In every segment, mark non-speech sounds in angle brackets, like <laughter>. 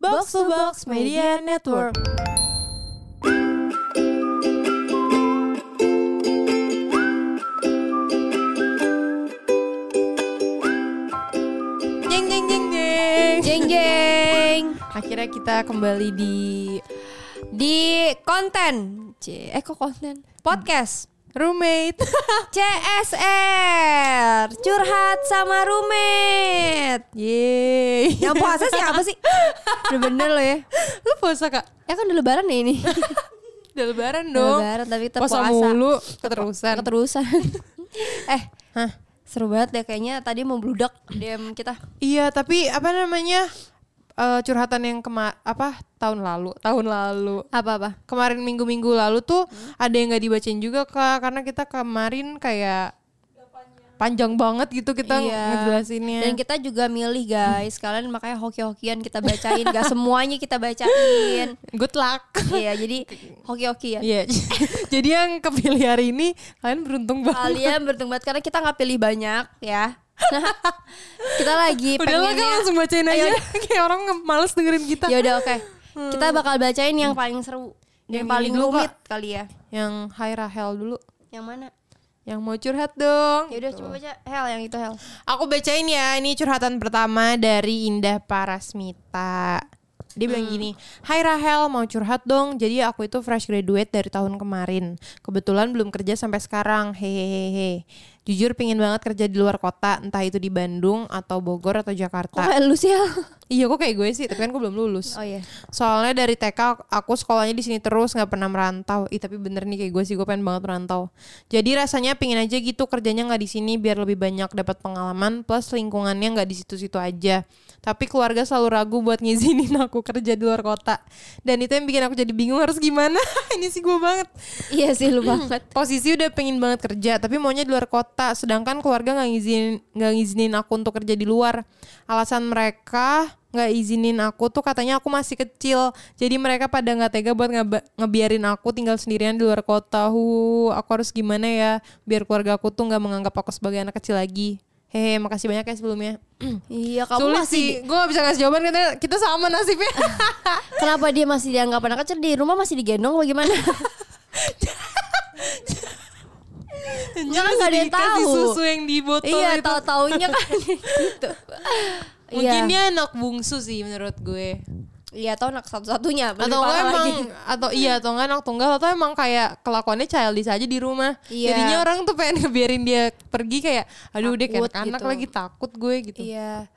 Box to Box Media Network. Jeng jeng jeng jeng. Jeng jeng Akhirnya kita kembali di di konten C eh kok konten podcast roommate. <laughs> Ah. CSR curhat sama roommate Yeay. yang puasa siapa sih udah bener lo ya Lu puasa Kak? ya kan udah lebaran ya <laughs> ini Udah lebaran Udah dong. lebaran tapi tetap Puasa puasa mulu keterusan. keterusan eh Hah? seru banget deh kayaknya tadi mau bludak DM kita Iya, tapi apa namanya? eh, curhatan yang kema apa tahun lalu, tahun lalu. apa apa Kemarin minggu-minggu lalu tuh ada yang nggak dibacain juga Kak karena kita kemarin kayak panjang banget gitu kita ngejelasinnya. Dan kita juga milih guys. Kalian makanya hoki-hokian kita bacain, gak semuanya kita bacain. Good luck. Iya, jadi ya. hoki-hokian. Iya. <laughs> Jadi yang kepilih hari ini kalian beruntung banget. Kalian beruntung banget karena kita nggak pilih banyak ya. kita lagi <laughs> Udah lah Kak pengennya. langsung bacain aja. <laughs> Kayak orang nge- males dengerin kita. Ya udah oke. Kita bakal bacain yang paling seru dan Hmm. Yang ini paling dulu, rumit kali ya. Yang Hai Rahel dulu. Yang mana? Yang mau curhat dong. Ya udah coba baca Hel yang itu Hel. Aku bacain ya, ini curhatan pertama dari Indah Parasmita. Dia bilang gini, Hai Rahel, mau curhat dong. Jadi aku itu fresh graduate dari tahun kemarin. Kebetulan belum kerja sampai sekarang. Hehehe. Jujur pingin banget kerja di luar kota, entah itu di Bandung atau Bogor atau Kok Jakarta. kayak lu sih Hel? Oh, Iya, kok kayak gue sih, tapi kan gue belum lulus. Oh iya. Soalnya dari TK aku sekolahnya di sini terus nggak pernah merantau. Ih tapi bener nih kayak gue sih gue pengen banget merantau. Jadi rasanya pingin aja gitu kerjanya nggak di sini biar lebih banyak dapat pengalaman plus lingkungannya nggak di situ-situ aja. Tapi keluarga selalu ragu buat ngizinin <laughs> aku kerja di luar kota. Dan itu yang bikin aku jadi bingung harus gimana. <laughs> Ini sih gue banget. Iya sih lu banget. Posisi udah pengen banget kerja, tapi maunya di luar kota. Sedangkan keluarga nggak ngizinin nggak ngizinin aku untuk kerja di luar. Alasan mereka nggak izinin aku tuh katanya aku masih kecil. Jadi mereka pada nggak tega buat ngeba- ngebiarin aku tinggal sendirian di luar kota. Hu, aku harus gimana ya biar keluarga aku tuh nggak menganggap aku sebagai anak kecil lagi. Hehe, makasih banyak ya sebelumnya. Iya <clears throat> kamu Sulit masih sih, gue gak bisa ngasih jawaban karena kita sama <laughs> nasibnya. kenapa dia masih dianggap anak kecil di rumah masih digendong <laughs> bagaimana? Jangan nggak ada yang dikasih tahu. susu yang di botol iya, itu. tahu taunya <laughs> kan gitu. Mungkin Iya. dia anak bungsu sih menurut gue. Iya, tahu anak satu-satunya lebih atau enggak parah emang lagi. <laughs> atau iya atau enggak anak tunggal atau emang kayak kelakuannya childish aja di rumah Iya. jadinya orang tuh pengen ngebiarin dia pergi kayak aduh deh Takut kayak anak gitu. lagi takut gue gitu Iya.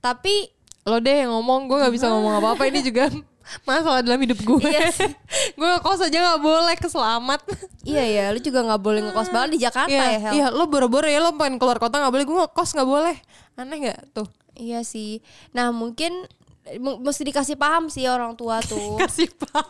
Tapi lo deh yang ngomong gue nggak bisa ngomong apa apa ini juga <laughs> masalah dalam hidup gue Iya <laughs> gue kos aja nggak boleh keselamat Iya ya, lu juga nggak boleh ngekos banget di Jakarta ya, iya Hel. iya lo boro-boro ya lo pengen keluar kota nggak boleh gue ngekos nggak boleh aneh nggak tuh Iya sih. Nah mungkin mu- mesti dikasih paham sih orang tua tuh. kasih paham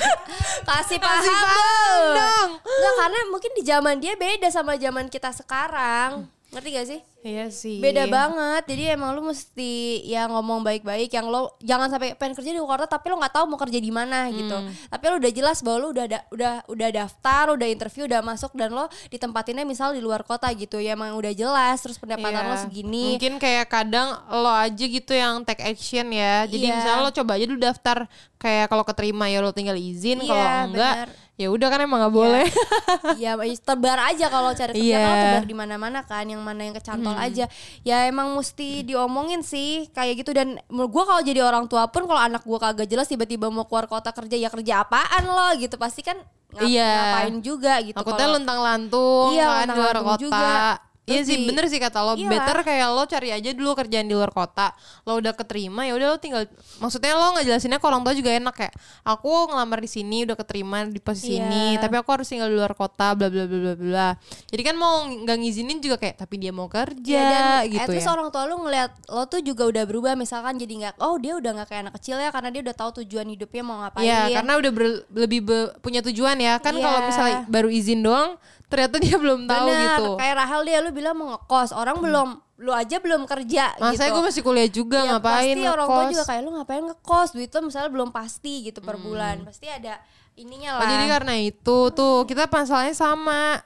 <laughs> Kasih paham, kasih paham Bu. dong Nggak, karena mungkin di zaman dia beda sama zaman kita sekarang. Ngerti gak sih? iya sih Beda banget. Jadi emang lu mesti ya ngomong baik-baik yang lo jangan sampai pengen kerja di Jakarta tapi lo nggak tahu mau kerja di mana gitu. Tapi lo udah jelas bahwa lo udah da- udah udah daftar, udah interview, udah masuk dan lo ditempatinnya misal di luar kota gitu. Ya emang udah jelas terus pendapatan Iya. lo segini. Mungkin kayak kadang lo aja gitu yang take action ya. Jadi Iya. misalnya lo coba aja dulu daftar kayak kalau keterima ya lo tinggal izin, Iya, kalau enggak benar. Iya. ya udah kan emang nggak boleh. <laughs> ya terbar aja kalau cari kerja Iya. Hmm. kan terbar di mana-mana kan yang mana yang kecantol aja ya emang mesti diomongin sih kayak gitu dan menurut gua kalau jadi orang tua pun kalau anak gua kagak jelas tiba-tiba mau keluar kota kerja ya kerja apaan lo gitu pasti kan ngap- Iya. ngapain juga gitu Takutnya kalau- luntang-lantung Iya, kan di luar luntang-lantung kota. juga. Iya Terus sih di- bener sih kata lo Iya. better kayak lo cari aja dulu kerjaan di luar kota lo udah keterima ya udah lo tinggal maksudnya lo nggak jelasinnya ke orang tua juga enak kayak aku ngelamar di sini udah keterima di posisi Iya. ini tapi aku harus tinggal di luar kota bla bla bla bla bla jadi kan mau nggak ngizinin juga kayak tapi dia mau kerja Iya, dan gitu at least ya orang tua lu ngeliat lo tuh juga udah berubah misalkan jadi nggak oh dia udah nggak kayak anak kecil ya karena dia udah tahu tujuan hidupnya mau ngapain Iya, karena udah ber- lebih be- punya tujuan ya kan ya. Iya. kalau misalnya baru izin doang ternyata dia belum tahu Bener, gitu Hmm. kayak Rahel dia lu bilang mau ngekos orang belum lu aja belum kerja Masa gitu gue masih kuliah juga Ya, ngapain pasti orang tua ngekos? Hmm. juga kayak lu ngapain ngekos duit lu misalnya belum pasti gitu per bulan pasti ada ininya Oh, lah jadi karena itu tuh kita masalahnya sama.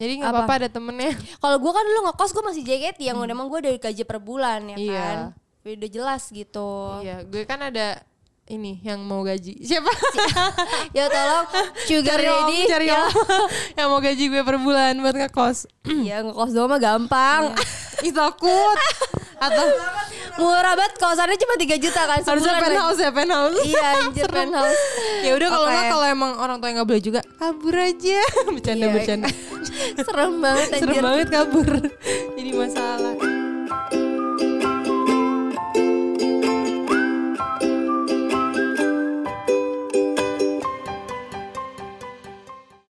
Jadi nggak Apa? apa-apa ada temennya. kalau gua kan dulu ngekos gua masih JKT yang udah emang gua dari gaji per bulan ya Hmm. Iya. kan udah jelas gitu Iya, gue kan ada ini yang mau gaji siapa ya tolong <laughs> <laughs> sugar cari om daddy cari ya, om <laughs> yang mau gaji gue per bulan buat <laughs> ngekos <clears throat> ya ngekos doang mah gampang ih takut atau <laughs> murah banget kosannya cuma 3 juta kan Iya. harusnya sebulan. penthouse ya penthouse iya <laughs> anjir penthouse ya udah kalau Oke. nggak kalau emang orang tua yang nggak boleh juga kabur aja <laughs> bercanda Iya. bercanda <laughs> serem banget anjir serem banget kabur <laughs> jadi masalah